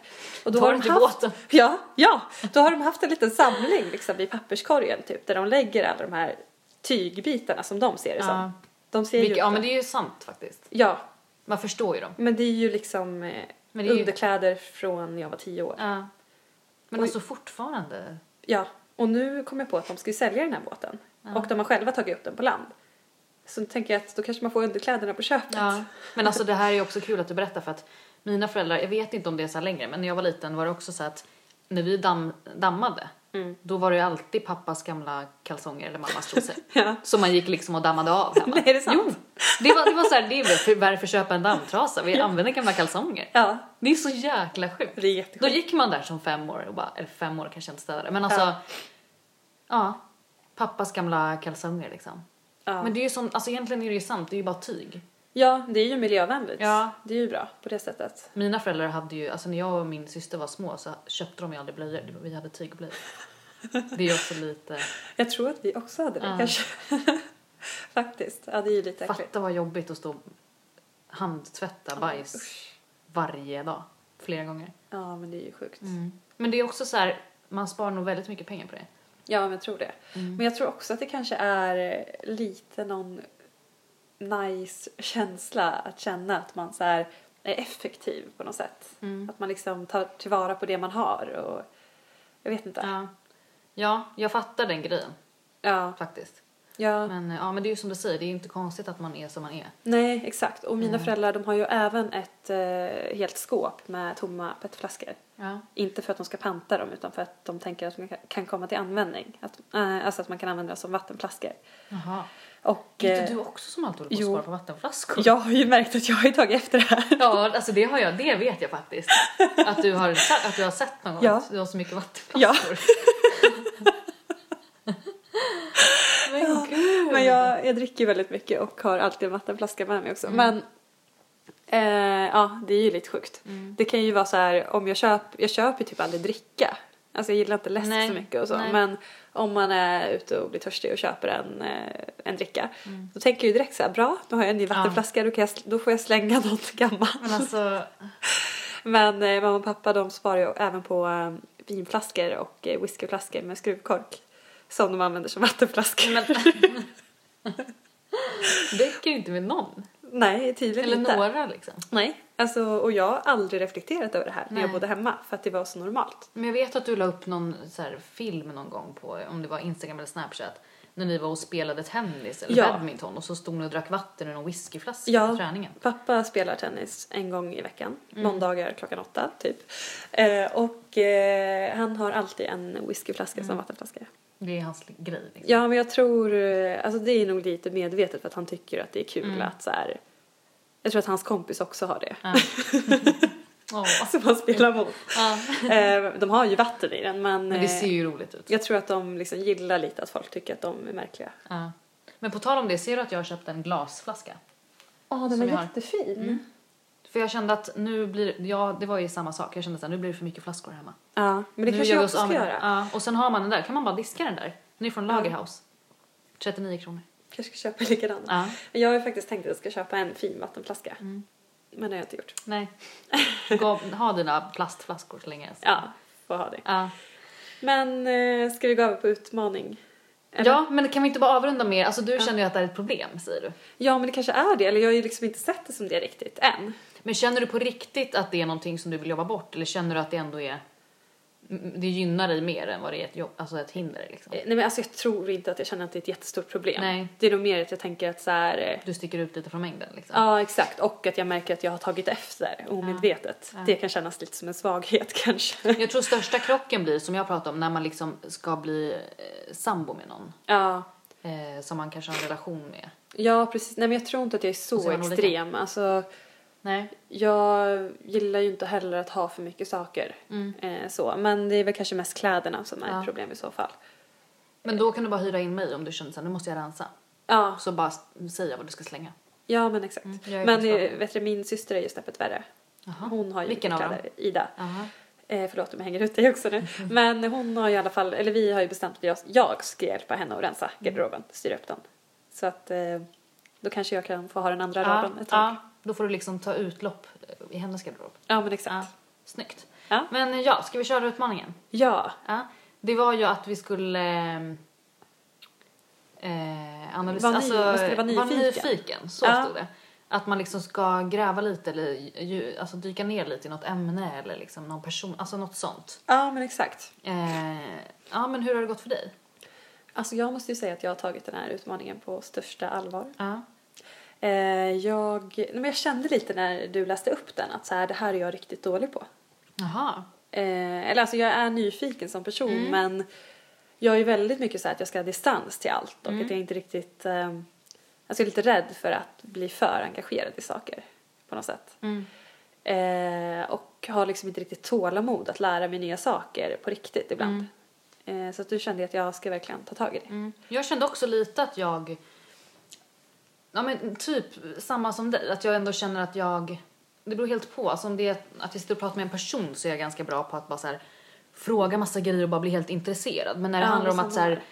Och
Ta det till båten.
Ja, ja, då har de haft en liten samling liksom i papperskorgen typ där de lägger alla de här tygbitarna som de ser det som.
Ja.
De ser
Vilket,
ju
ja
inte-
men det är ju sant faktiskt.
ja,
Man förstår ju dem.
men det är ju liksom eh,
Men det är ju-
underkläder från när jag var tio år.
Ja. Men
Oj.
alltså fortfarande.
Ja, och nu kom jag på att de ska ju sälja den här båten. Och de har själva tagit upp den på land. Så då tänker jag att då kanske man får underkläderna på köpet.
Ja. Men alltså det här är ju också kul att du berättar för att mina föräldrar, jag vet inte om det är så här längre, men när jag var liten var det också så att när vi damm, dammade,
Mm.
då var det ju alltid pappas gamla kalsonger eller mammas trosor.
Ja.
Som man gick liksom och dammade av hemma.
Nej, är det sant?
Jo! Det var, det var så här, det är väl för, varför köpa en dammtrasa? Vi använder gamla kalsonger.
ja,
Det är så jäkla sjukt.
det är
Då
jätteskönt.
gick man där som fem år och bara, eller fem år kanske jag inte städade, men alltså ja.
Ja.
pappas gamla kalsonger liksom.
Ja.
Men det är ju som, alltså egentligen är det ju sant, det är ju bara tyg.
ja, det är ju miljövänligt.
Ja.
Det är ju bra på det sättet.
Mina föräldrar hade ju, alltså när jag och min syster var små så köpte de ju aldrig blöjor, Det var- vi hade tygblöjor. Det är ju också lite,
Jag tror att vi också hade det
Ja.
kanske. Faktiskt. Ja, det är ju lite äckligt.
fatta vad jobbigt att stå och handtvätta bajs varje dag, flera gånger.
Ja, men det är ju sjukt.
Mm. Men det är också så här, man sparar nog väldigt mycket pengar på det.
Ja,
Mm.
men jag tror det. Mm. Men jag tror också att det kanske är lite någon nice känsla att känna att man så här är effektiv på något sätt.
Mm.
Att man liksom tar tillvara på det man har och jag vet inte.
Ja. ja, jag fattar den grejen
Ja.
faktiskt.
Ja,
Men eh, ja, men det är ju som du säger, det är ju inte konstigt att man är som man är.
nej exakt. Och mina
Mm.
föräldrar de har ju även ett eh, helt skåp med tomma petflaskor.
Ja.
Inte för att de ska panta dem utan för att de tänker att de kan- kan komma till användning. Att, eh, alltså att man kan använda dem som vattenflaskor.
Jaha.
Och,
Är
eh,
inte du också som alltid håller på
jo.
att spara på vattenflaskor?
jag har ju märkt att jag har ju tagit efter det här.
Ja, alltså det har jag, det vet jag faktiskt. Att du har, att du har sett någon gång
Ja.
att du har så mycket vattenflaskor. Men gud!
Men jag, jag dricker ju väldigt mycket och har alltid en vattenflaska med mig också.
Mm.
Men eh, ja, det är ju lite sjukt.
Mm.
Det kan ju vara så här om jag köper, jag köper ju typ aldrig dricka. Alltså jag gillar inte läsk
Nej,
så mycket och så.
nej.
Men om man är ute och blir törstig och köper en, eh, en dricka.
Mm.
Då tänker jag ju direkt så här, bra då har jag en ny vattenflaska, då, kan jag, sl- då får jag slänga något gammalt.
Men alltså,
Men eh, mamma och pappa de sparar ju även på eh, vinflaskor och eh, whiskyflaskor med skruvkork. Som de använder som vattenflaskor.
men... eh, Räcker inte med någon?
Nej, tydligen
Eller
inte.
några liksom.
Nej, alltså, och jag har aldrig reflekterat över det här när jag
Nej.
bodde hemma för att det var så normalt.
Men jag vet att du la upp någon så här film någon gång på, om det var Instagram eller Snapchat, när ni var och spelade tennis eller
Ja.
badminton och så stod ni och drack vatten ur någon whiskyflaska
Ja.
på träningen.
Pappa spelar tennis en gång i veckan,
Mm.
måndagar klockan åtta typ. Eh, och eh, han har alltid en whiskyflaska
Mm.
som vattenflaska.
Det är hans grej. Liksom.
Ja men jag tror, eh, alltså det är nog lite medvetet för att han tycker att det är
Mm.
kul att så här. Jag tror att hans kompis också har det.
Ja. Åh.
Som han Alltså, spelar mot.
Ja.
Eh, de har ju vatten i den men,
Men det ser
eh,
ju roligt ut.
jag tror att de liksom gillar lite att folk tycker att de är märkliga.
Ja. Men på tal om det, ser du att jag har köpt en glasflaska?
Ja
den var
jättefin.
För jag kände att nu blir, ja det var ju samma sak, jag kände att nu blir det för mycket flaskor hemma.
Ja, men det
nu
kanske
gör
jag
vi
också
oss av
ska
med den.
göra.
Ja. Och sen har man den där, kan man bara diska den där. Den är från Lagerhaus. 39 kronor.
kanske ska köpa likadan.
Ja.
Jag har ju faktiskt tänkt att jag ska köpa en fin vattenflaska.
Mm.
Men det har jag inte gjort.
Nej. Gå, ha dina plastflaskor så länge. alltså.
Ja, får ha det.
Ja.
Men eh, ska vi gå över på utmaning? Eller-
ja, men kan vi inte bara avrunda med, alltså du
Ja.
känner ju att det här är ett problem säger du.
Ja, men det kanske är det. Eller jag har ju liksom inte sett det som det riktigt än. Eh,
Men känner du på riktigt att det är någonting som du vill jobba bort eller känner du att det ändå är, m- det gynnar dig mer än vad det är ett, jobb, alltså ett hinder liksom?
Eh, Nej, men alltså jag tror inte att jag känner att det är ett jättestort problem.
Nej.
Det är nog mer att jag tänker att så här... eh,
Du sticker ut lite från mängden liksom?
Ja, exakt. Och att jag märker att jag har tagit efter omedvetet.
Ja.
Det kan kännas lite som en svaghet kanske.
Jag tror största krocken blir, som jag pratade om, när man liksom ska bli eh, sambo med någon.
Ja,
Eh, som man kanske har en relation med.
ja precis. Nej, men jag tror inte att jag är
Och så
så
är man olika.
extrem. Alltså...
Nej.
Jag gillar ju inte heller att ha för mycket saker. Eh, så. Men det är väl kanske mest kläderna som är
Mm. Ja.
ett problem i så fall.
Men då kan du bara hyra in mig om du känner att nu måste jag rensa.
Ja,
Så bara s- säga vad du ska slänga.
ja men exakt.
Mm, jag är
men
förstådd.
eh, vet du, min syster är ju snäppet värre.
Jaha.
Hon har ju
Vilken
mycket
av dem?
kläder. Ida.
Jaha.
Eh, förlåt om jag hänger ut dig också nu. Men hon har i alla fall, eller vi har ju bestämt att jag, jag ska hjälpa henne att rensa garderoben, styra upp den. Så att eh, då kanske jag kan få ha den andra raden ett tag. Ja,
Då får du liksom ta utlopp eh, i hennes garderob.
men exakt.
Snyggt.
Ja.
Men eh, ja, ska vi köra utmaningen?
Ja.
Ja. Det var ju att vi skulle ehm, eh, analysera,
Var ny- man skulle vara nyfiken.
nyfiken, så
Ja.
stod det. Att man liksom ska gräva lite eller ju, alltså dyka ner lite i något ämne eller liksom någon person, alltså något sånt.
ja, men exakt.
Eh, ja men hur har det gått för dig?
Alltså jag måste ju säga att jag har tagit den här utmaningen på största allvar.
Ja.
Eh, jag, nej, men jag kände lite när du läste upp den att så här, det här är jag riktigt dålig på.
Jaha.
Eh, eller alltså jag är nyfiken som person
Mm.
men jag är väldigt mycket så här att jag ska ha distans till allt och
Mm.
att jag inte riktigt... Eh, alltså jag är lite rädd för att bli för engagerad i saker på något sätt.
Mm.
Eh, och har liksom inte riktigt tålamod att lära mig nya saker på riktigt ibland. Eh, så att du kände att jag ska verkligen ta tag i det.
Mm. Jag kände också lite att jag... Ja men typ samma som dig, att jag ändå känner att jag... Det beror helt på. Alltså om det är att vi sitter och pratar med en person så är jag ganska bra på att bara så här, fråga massa grejer och bara bli helt intresserad. Men när det
Ja,
handlar om
men
att så
samma
här,
här.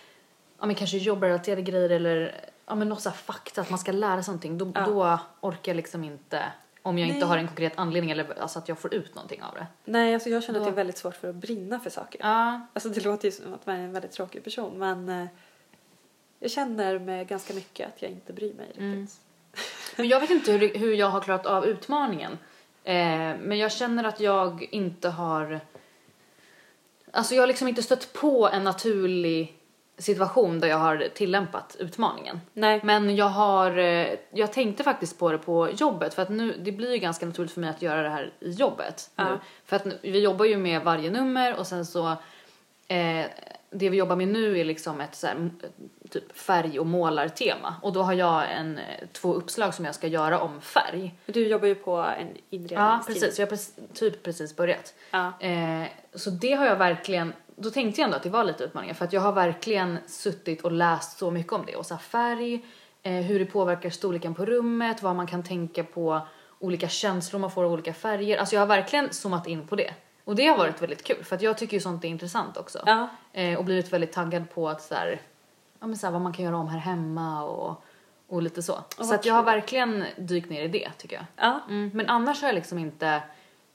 ja men kanske jobbrelaterade grejer eller ja men något så här fakta, att man ska lära sig någonting, då,
Ja.
då orkar jag liksom inte om jag inte
Nej.
har en konkret anledning eller alltså att jag får ut någonting av det.
Nej, alltså jag känner att
Då-
jag är väldigt svårt för att brinna för saker.
Ja,
Alltså det låter ju som att man är en väldigt tråkig person men eh, jag känner med ganska mycket att jag inte bryr mig riktigt.
Mm. Men jag vet inte hur, hur jag har klarat av utmaningen. Eh, men jag känner att jag inte har... Alltså jag har liksom inte stött på en naturlig situation där jag har tillämpat utmaningen.
Nej.
Men jag har, eh, jag tänkte faktiskt på det på jobbet för att nu, det blir ju ganska naturligt för mig att göra det här i jobbet
Ja.
nu. För att nu, vi jobbar ju med varje nummer och sen så, eh, det vi jobbar med nu är liksom ett så här, m- typ färg och målartema och då har jag en, eh, två uppslag som jag ska göra om färg.
Du jobbar ju på en
Ja
inredningsstil.
precis, jag har prec- typ precis börjat.
Ja.
Eh, så det har jag verkligen, då tänkte jag ändå att det var lite utmaningar för att jag har verkligen suttit och läst så mycket om det och så här färg, eh, hur det påverkar storleken på rummet, vad man kan tänka på, olika känslor man får av olika färger. Alltså jag har verkligen zoomat in på det. Och det har varit väldigt kul för att jag tycker ju sånt är intressant också.
Ja.
Eh, och blivit väldigt taggad på att så här, ja men så här, vad man kan göra om här hemma och, och lite så. så
vad
att jag har verkligen dykt ner i det tycker jag.
ja.
Mm, men annars har jag liksom inte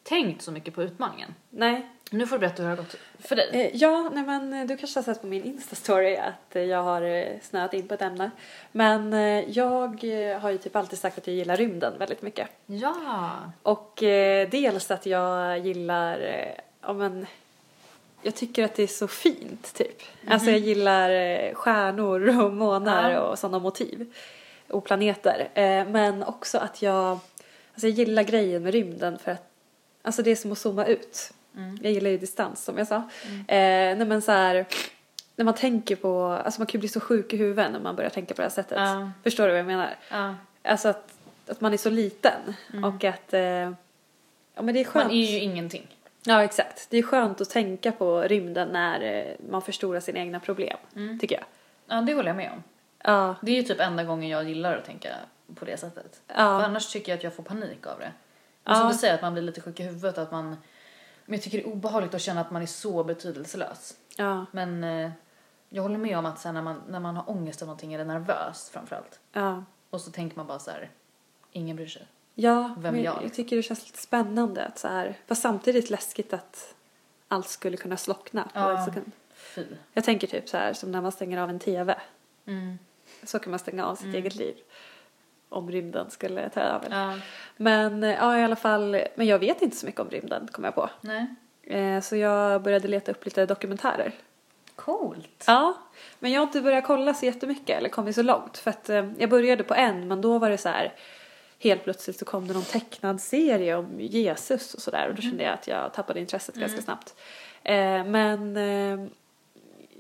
tänkt så mycket på utmaningen.
Nej.
Nu får du berätta hur det har gått för dig.
Eh, ja, nej men eh, du kanske har sett på min Insta-story att eh, jag har eh, snöat in på ett ämne. Men eh, jag eh, har ju typ alltid sagt att jag gillar rymden väldigt mycket.
Ja!
Och eh, dels att jag gillar, eh, ja men, jag tycker att det är så fint typ. Alltså jag gillar eh, stjärnor och månar
Mhm. Ja.
och sådana motiv. Och planeter. Eh, men också att jag, alltså jag gillar grejen med rymden för att, alltså det är som att zooma ut.
Mm.
Jag gillar ju distans som jag sa. Eh, nej men så här, när man tänker på, alltså man kan ju bli så sjuk i huvudet när man börjar tänka på det här sättet.
Ja.
Förstår du vad jag menar?
ja.
Alltså att, att man är så liten och att eh, ja, men det är skönt.
Mm. Man är ju ingenting.
Ja exakt. Det är skönt att tänka på rymden när eh, man förstorar sina egna problem.
Mm.
Tycker jag.
Ja, det håller jag med om.
Ja.
Det är ju typ enda gången jag gillar att tänka på det sättet. För
Ja.
annars tycker jag att jag får panik av det. Men
Ja.
som du säger, att man blir lite sjuk i huvudet. Att man... Men jag tycker det är obehagligt att känna att man är så betydelselös.
Ja.
Men eh, jag håller med om att sen när, man, när man har ångest av någonting eller nervös framförallt.
Ja.
Och så tänker man bara så här, ingen bryr sig.
ja
Vem
men
jag,
jag
liksom.
tycker det känns lite spännande att så här. Fast samtidigt läskigt att allt skulle kunna slockna på
Ja.
en sekund.
Fy.
Jag tänker typ så här som när man stänger av en TV.
Mm.
Så kan man stänga av sitt eget liv. Om rymden skulle ta över.
Ja.
Men eh, ja i alla fall. Men jag vet inte så mycket om rymden kom jag på.
Nej.
Eh, Så jag började leta upp lite dokumentärer.
Coolt.
Ja, men jag har inte börjat kolla så jättemycket eller kommit så långt. För att eh, jag började på en men då var det så här helt plötsligt så kom det någon tecknad serie om Jesus och sådär och då kände jag att jag tappade intresset
Mm.
ganska snabbt. Eh, Men eh,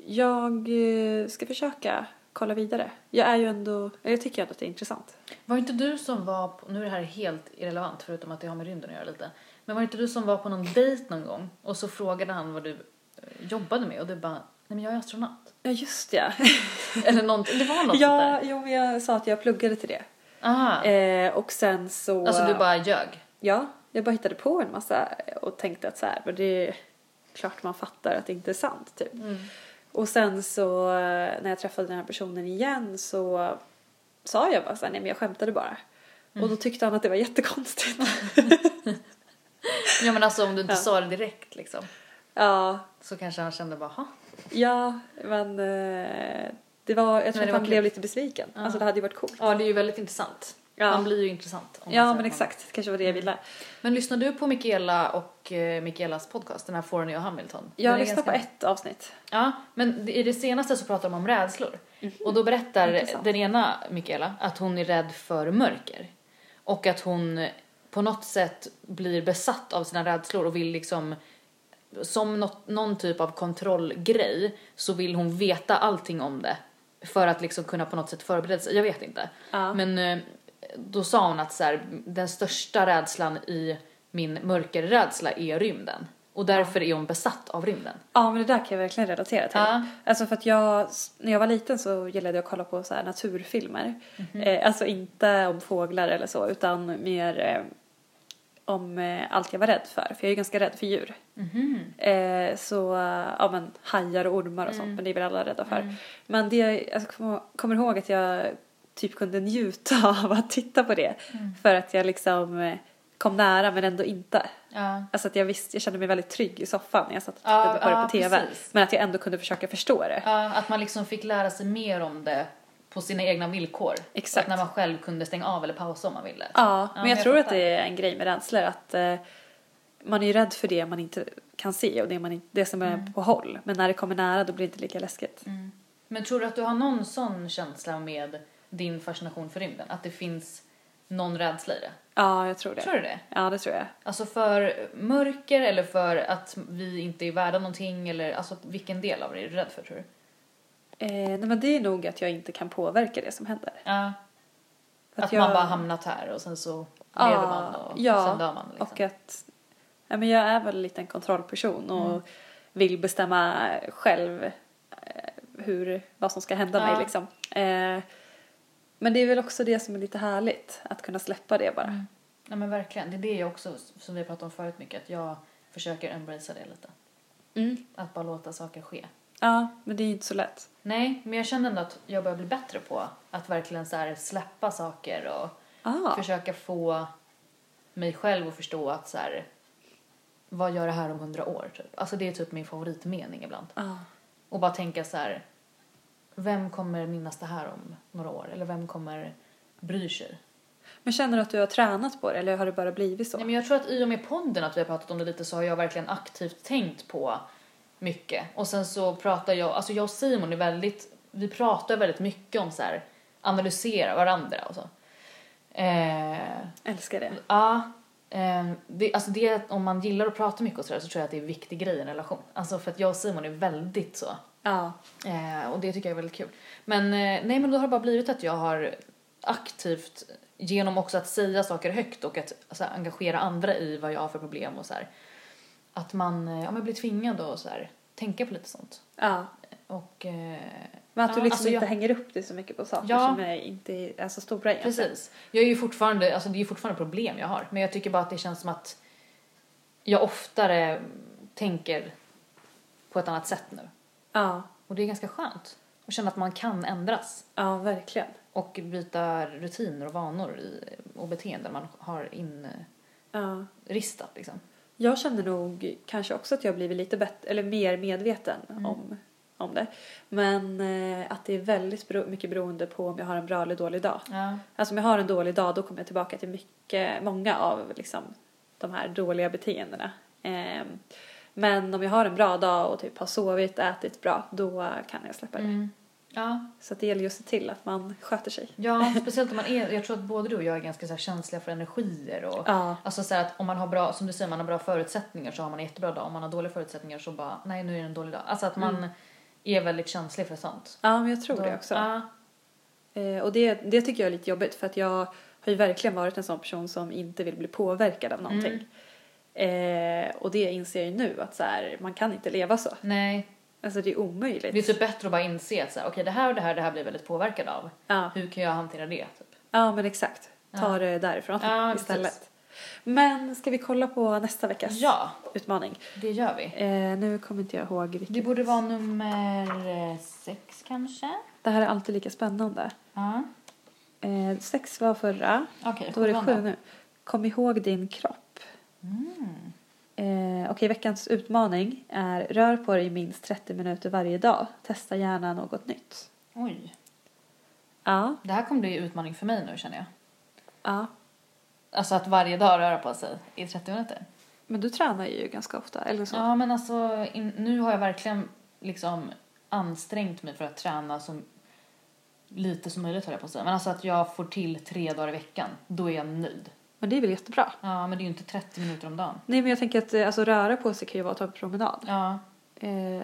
jag eh, ska försöka kolla vidare. Jag är ju ändå, eller jag tycker ändå att det är intressant.
Var inte du som var på, nu är det här helt irrelevant förutom att det har med rymden att göra lite. Men var inte du som var på någon dejt någon gång och så frågade han vad du eh, jobbade med och du bara, nej men jag är astronaut.
Ja just ja.
Eller någonting, det var något
ja,
sånt
jo, men jag sa att jag pluggade till det.
där. Aha.
Eh, och sen så...
alltså du bara ljög.
Ja, jag bara hittade på en massa och tänkte att så här, men det är klart man fattar att det inte är sant typ.
Mm.
Och sen så eh, när jag träffade den här personen igen så sa jag bara så här, nej men jag skämtade bara. Och
Mm.
då tyckte han att det var jättekonstigt.
Ja men alltså om du inte
Ja.
sa det direkt liksom.
ja,
Så kanske han kände bara, "Ha."
ja, men eh, det var, jag tror
det
att
var
han
kul.
blev lite besviken. Alltså det hade ju varit coolt.
Ja det är ju väldigt intressant.
Ja.
Han blir ju intressant. om man säger
Ja
att
men
man-
exakt, det kanske var det jag
Mm.
ville.
Men lyssnar du på Michaela och eh, Michaelas podcast, den här Forney och Hamilton? Den är
Jag lyssnade
ganska-
på ett avsnitt.
Ja, men i det senaste så pratar de om rädslor. Och då berättar
Mhm, Intressant.
den ena, Michaela, att hon är rädd för mörker. Och att hon på något sätt blir besatt av sina rädslor och vill liksom som något, någon typ av kontrollgrej så vill hon veta allting om det för att liksom kunna på något sätt förbereda sig. Jag vet inte.
Ja.
Men eh, då sa hon att så här, den största rädslan i min mörkerrädsla är rymden. Och därför är hon besatt av rymden.
Ja men det där kan jag verkligen relatera till.
Ja.
Alltså för att jag, när jag var liten så gillade jag att kolla på så här naturfilmer.
Mhm. Mm.
Eh, alltså inte om fåglar eller så utan mer eh, om eh, allt jag var rädd för. För jag är ju ganska rädd för djur.
Mhm.
Eh, så, eh, ja men hajar och ormar och
Mm.
sånt men det är väl alla rädda för. Men det, jag alltså, kommer- kommer ihåg att jag typ kunde njuta av att titta på det.
Mm.
För att jag liksom eh, kom nära men ändå inte.
Ja.
Alltså att jag, visste, jag kände mig väldigt trygg i soffan när jag satt och
Ja,
tittade på det
ja,
på TV.
precis.
Men att jag ändå kunde försöka förstå det.
Ja, att man liksom fick lära sig mer om det på sina egna villkor.
Exakt.
Att när man själv kunde stänga av eller pausa om man ville.
Ja, men
men
jag,
jag
tror att
fattar.
det är en grej med rädslor att eh, man är ju rädd för det man inte kan se och det, man, inte- det som är på håll. Men när det kommer nära då blir det inte lika läskigt.
Men tror du att du har någon sån känsla med din fascination för rymden? Att det finns någon rädsla i det?
Ja, jag tror det.
Tror du det?
Ja, det tror jag.
Alltså för mörker eller för att vi inte är värda någonting eller alltså vilken del av det är du rädd för tror du?
Eh, nej, men det är nog att jag inte kan påverka det som händer.
Ja.
För
Att,
jag-
man bara hamnat här och sen så
Ja,
lever man och
ja,
sen dör man liksom.
Och att ja, men jag är väl en liten kontrollperson och vill bestämma själv eh, hur, vad som ska hända
Ja.
mig. Liksom. Eh, men det är väl också det som är lite härligt, att kunna släppa det bara.
Nej men verkligen, det är det jag också som vi har pratat om förut mycket att jag försöker embracea det lite. Att bara låta saker ske.
Ja, men det är ju inte så lätt.
Nej, men jag känner ändå att jag börjar bli bättre på att verkligen så här släppa saker och
Ah,
försöka få mig själv att förstå att så här, vad gör det här om hundra år typ? Alltså det är typ min favoritmening ibland.
ah,
Och bara tänka så här, vem kommer minnas det här om några år? Eller vem kommer bry sig?
Men känner du att du har tränat på det eller har det bara blivit så?
Nej, men jag tror att i och med podden att vi har pratat om det lite så har jag verkligen aktivt tänkt på mycket. Och sen så pratar jag, alltså jag och Simon är väldigt, vi pratar väldigt mycket om så här, analysera varandra och så. Eh,
Älskar det.
Ja. Eh, det, alltså det, om man gillar att prata mycket och sådär så tror jag att det är en viktig grej i en relation. Alltså för att jag och Simon är väldigt så.
Ja,
Eh, och det tycker jag är väldigt kul. Men eh, nej men då har det bara blivit att jag har aktivt genom också att säga saker högt och att alltså, engagera andra i vad jag har för problem och så här. Att man, eh, ja, man blir tvingad att så här, tänka på lite sånt.
ja.
Och eh,
Men att
Ja,
du liksom
alltså
inte
jag-
hänger upp dig så mycket på saker
Ja.
som är inte är alltså, stora egentligen.
Precis. Jag är ju fortfarande, alltså det är ju fortfarande problem jag har. Men jag tycker bara att det känns som att jag oftare tänker på ett annat sätt nu.
Ja,
Och det är ganska skönt. Att känna att man kan ändras.
ja verkligen.
Och byta rutiner och vanor i, och beteenden man har inristat
Ja.
liksom.
Jag känner nog kanske också att jag har blivit lite bättre, eller mer medveten
Mm.
om, om det. Men eh, att det är väldigt bero, mycket beroende på om jag har en bra eller dålig dag.
Ja.
Alltså om jag har en dålig dag då kommer jag tillbaka till mycket, många av liksom, de här dåliga beteendena. Ehm, men om jag har en bra dag och typ har sovit, ätit bra, då kan jag släppa det.
Mm. Ja,
Så att det gäller ju att se till att man sköter sig.
Ja, speciellt om man är, jag tror att både du och jag är ganska så här känsliga för energier och
Ja.
alltså så här att om man har bra, som du säger, man har bra förutsättningar så har man en jättebra dag, om man har dåliga förutsättningar så bara, nej nu är det en dålig dag. Alltså att man är väldigt känslig för sånt.
Ja, men jag tror
Då-
det också.
Ja,
Eh, och det, det tycker jag är lite jobbigt för att jag har ju verkligen varit en sån person som inte vill bli påverkad av
Mm.
någonting. Eh, och det inser jag ju nu att så här, man kan inte leva så.
nej.
Alltså det är omöjligt.
Det är typ bättre att bara inse att så här, okej det här och det här, det här blir jag väldigt påverkad av.
Ja.
Hur kan jag hantera det? Typ?
ja, men exakt. Ta
Ja.
det därifrån
Ja,
istället.
precis.
Men ska vi kolla på nästa veckas
Ja,
utmaning?
det gör vi.
Eh, nu kommer inte jag ihåg vilket.
Det borde vara nummer eh, sex kanske?
Det här är alltid lika spännande.
Ja.
Eh, sex var förra.
Okej,
Då är det
sjuan då.
sju nu. Kom ihåg din kropp.
Mm.
Eh, Okej, veckans utmaning är rör på dig minst 30 minuter varje dag. Testa gärna något nytt.
Oj,
Ja,
det här kommer bli utmaning för mig nu känner jag.
ja.
Alltså att varje dag röra på sig i 30 minuter.
Men du tränar ju ganska ofta, eller så?
Ja, men alltså in, nu har jag verkligen liksom ansträngt mig för att träna så lite som möjligt höll jag på att säga. Men alltså att jag får till tre dagar i veckan, då är jag nöjd.
Men det är väl jättebra?
Ja, men det är ju inte 30 minuter om dagen.
Nej, men jag tänker att eh, alltså, röra på sig kan ju vara att ta en promenad.
Ja,
Eh,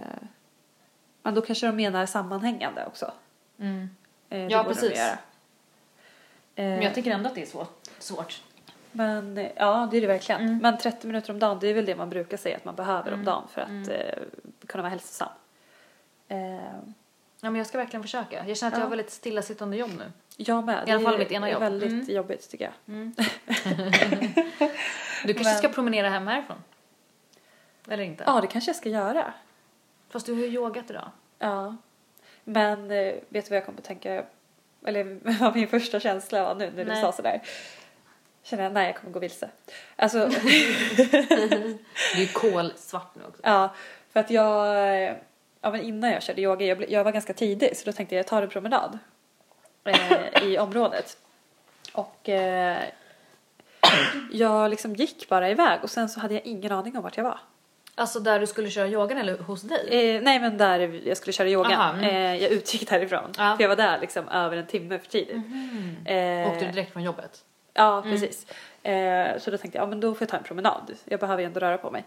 men då kanske de menar sammanhängande också.
mm.
Eh, det
Ja,
borde de
precis.
göra. Eh,
men jag tycker ändå att det är svårt. svårt.
Men eh, ja, det är det verkligen.
Mm.
Men 30 minuter om dagen, det är väl det man brukar säga att man behöver om
Mm.
dagen för att
Mm.
eh, kunna vara hälsosam. Eh,
Ja, men jag ska verkligen försöka. Jag känner att jag
Ja.
har väldigt stillasittande jobb nu.
jag med.
I alla
Det
fall
är-
mitt ena
är
jobb.
väldigt
Mm.
jobbigt tycker jag.
Du kanske
Men-
ska promenera hem härifrån? Eller inte?
Ja, det kanske jag ska göra.
Fast du har ju yogat idag.
Ja. Men eh, vet du vad jag kom att tänka? Eller vad min första känsla var nu när
Nej.
du sa sådär? Känner jag, nej jag kommer gå vilse. Alltså,
Det är ju kolsvart nu också.
ja. För att jag, eh, ja men innan jag körde yoga, jag, ble- jag var ganska tidig så då tänkte jag jag tar en promenad eh, i området. Och eh, jag liksom gick bara iväg och sen så hade jag ingen aning om vart jag var.
Alltså där du skulle köra yogan eller hos dig?
Eh, nej men där jag skulle köra yoga.
Aha, mm.
Eh, jag utgick därifrån.
Ja. Mm.
För jag var där liksom över en timme för tidigt.
Mm-hmm.
Eh,
Åkte du direkt från jobbet? Mm.
Ja, precis. Eh, så då tänkte jag, ja men då får jag ta en promenad. Jag behöver ju ändå röra på mig.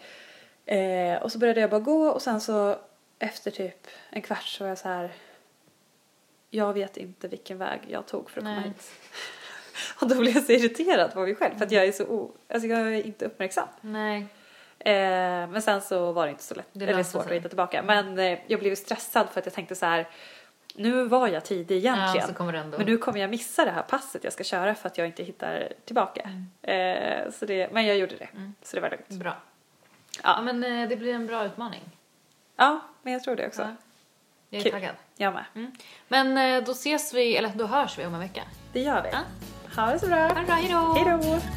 Eh, och så började jag bara gå och sen så efter typ en kvart så var jag så här. Jag vet inte vilken väg jag tog för att komma
Nej.
hit. Och då blev jag så irriterad på mig själv för att jag är så o... Alltså jag är inte uppmärksam.
Nej.
Eh, men sen så var det inte så lätt,
Det
eller
löste
svårt
sig.
att hitta tillbaka. Men eh, jag blev stressad för att jag tänkte så här. Nu var jag tidig egentligen.
Ja, så kommer det ändå.
Men nu kommer jag missa det här passet jag ska köra för att jag inte hittar tillbaka. Eh, så det, men jag gjorde det, så det var lugnt.
Bra. Ja,
Ja.
men eh, det blir en bra utmaning.
Ja, men jag tror det också.
Ja. Mm. Jag är
Kul.
taggad.
Jag med.
Men eh, då ses vi, eller då hörs vi om en vecka.
Det gör vi.
Ja.
Ha det så bra.
Ha det bra, hejdå!
Hej då!